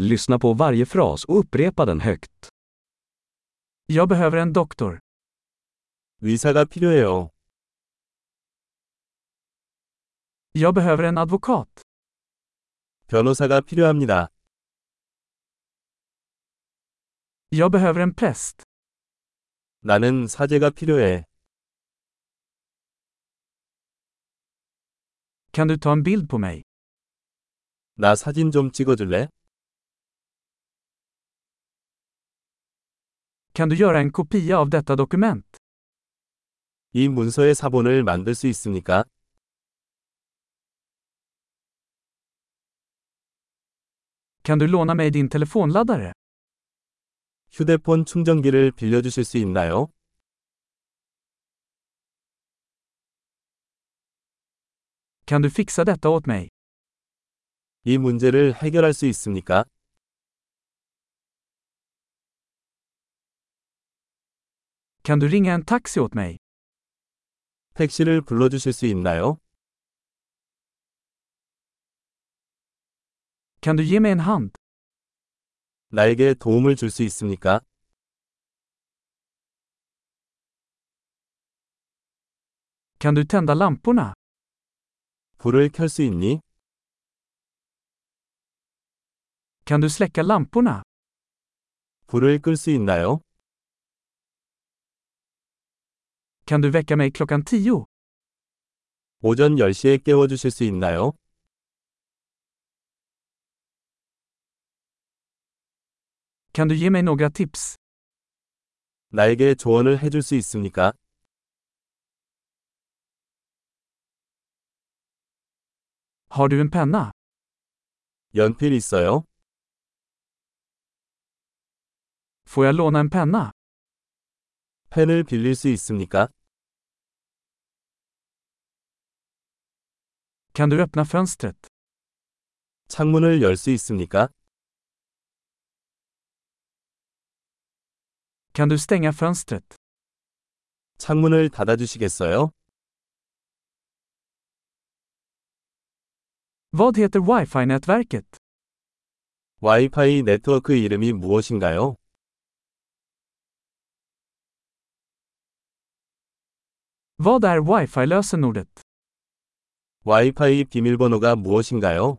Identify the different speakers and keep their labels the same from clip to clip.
Speaker 1: Lyssna på varje fras och upprepa den högt.
Speaker 2: Jag behöver en doktor.
Speaker 3: 의사가 필요해요.
Speaker 2: Jag behöver en advokat.
Speaker 3: 변호사가 필요합니다.
Speaker 2: Jag behöver en präst.
Speaker 3: 나는 사제가 필요해.
Speaker 2: Kan du ta en bild på mig?
Speaker 3: 나 사진 좀 찍어줄래?
Speaker 2: Kan du göra en kopia av detta dokument?
Speaker 3: 이 문서의 사본을 만들 수 있습니까?
Speaker 2: Kan du låna mig din telefonladdare?
Speaker 3: 휴대폰 충전기를 빌려주실 수 있나요?
Speaker 2: Kan du fixa detta åt mig?
Speaker 3: 이 문제를 해결할 수 있습니까?
Speaker 2: Kan du ringa en taxi åt mig?
Speaker 3: 택시를 불러주실 수 있나요?
Speaker 2: Kan du ge mig en hand?
Speaker 3: 나에게 도움을 줄 수 있습니까?
Speaker 2: Kan du tända lamporna?
Speaker 3: 불을 켤 수 있니?
Speaker 2: Kan du släcka lamporna?
Speaker 3: 불을 끌 수 있나요?
Speaker 2: Kan du väcka mig klockan tio?
Speaker 3: 오전 10시에 깨워주실 수 있나요?
Speaker 2: Kan du ge mig några tips?
Speaker 3: 나에게 조언을 해줄 수 있습니까?
Speaker 2: Har du en penna?
Speaker 3: 연필 있어요?
Speaker 2: Får jag låna en penna?
Speaker 3: 펜을 빌릴 수 있습니까?
Speaker 2: Kan du öppna fönstret?
Speaker 3: 창문을 열 수 있습니까?
Speaker 2: Kan du stänga fönstret?
Speaker 3: 창문을 닫아주시겠어요?
Speaker 2: Vad heter wifi-nätverket?
Speaker 3: 와이파이 네트워크 이름이 무엇인가요?
Speaker 2: Vad är wifi-lösenordet?
Speaker 3: 와이파이 비밀번호가 무엇인가요?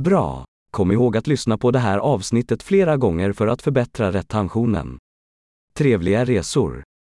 Speaker 1: Bra! Kom ihåg att lyssna på det här avsnittet flera gånger för att förbättra retentionen. Trevliga resor!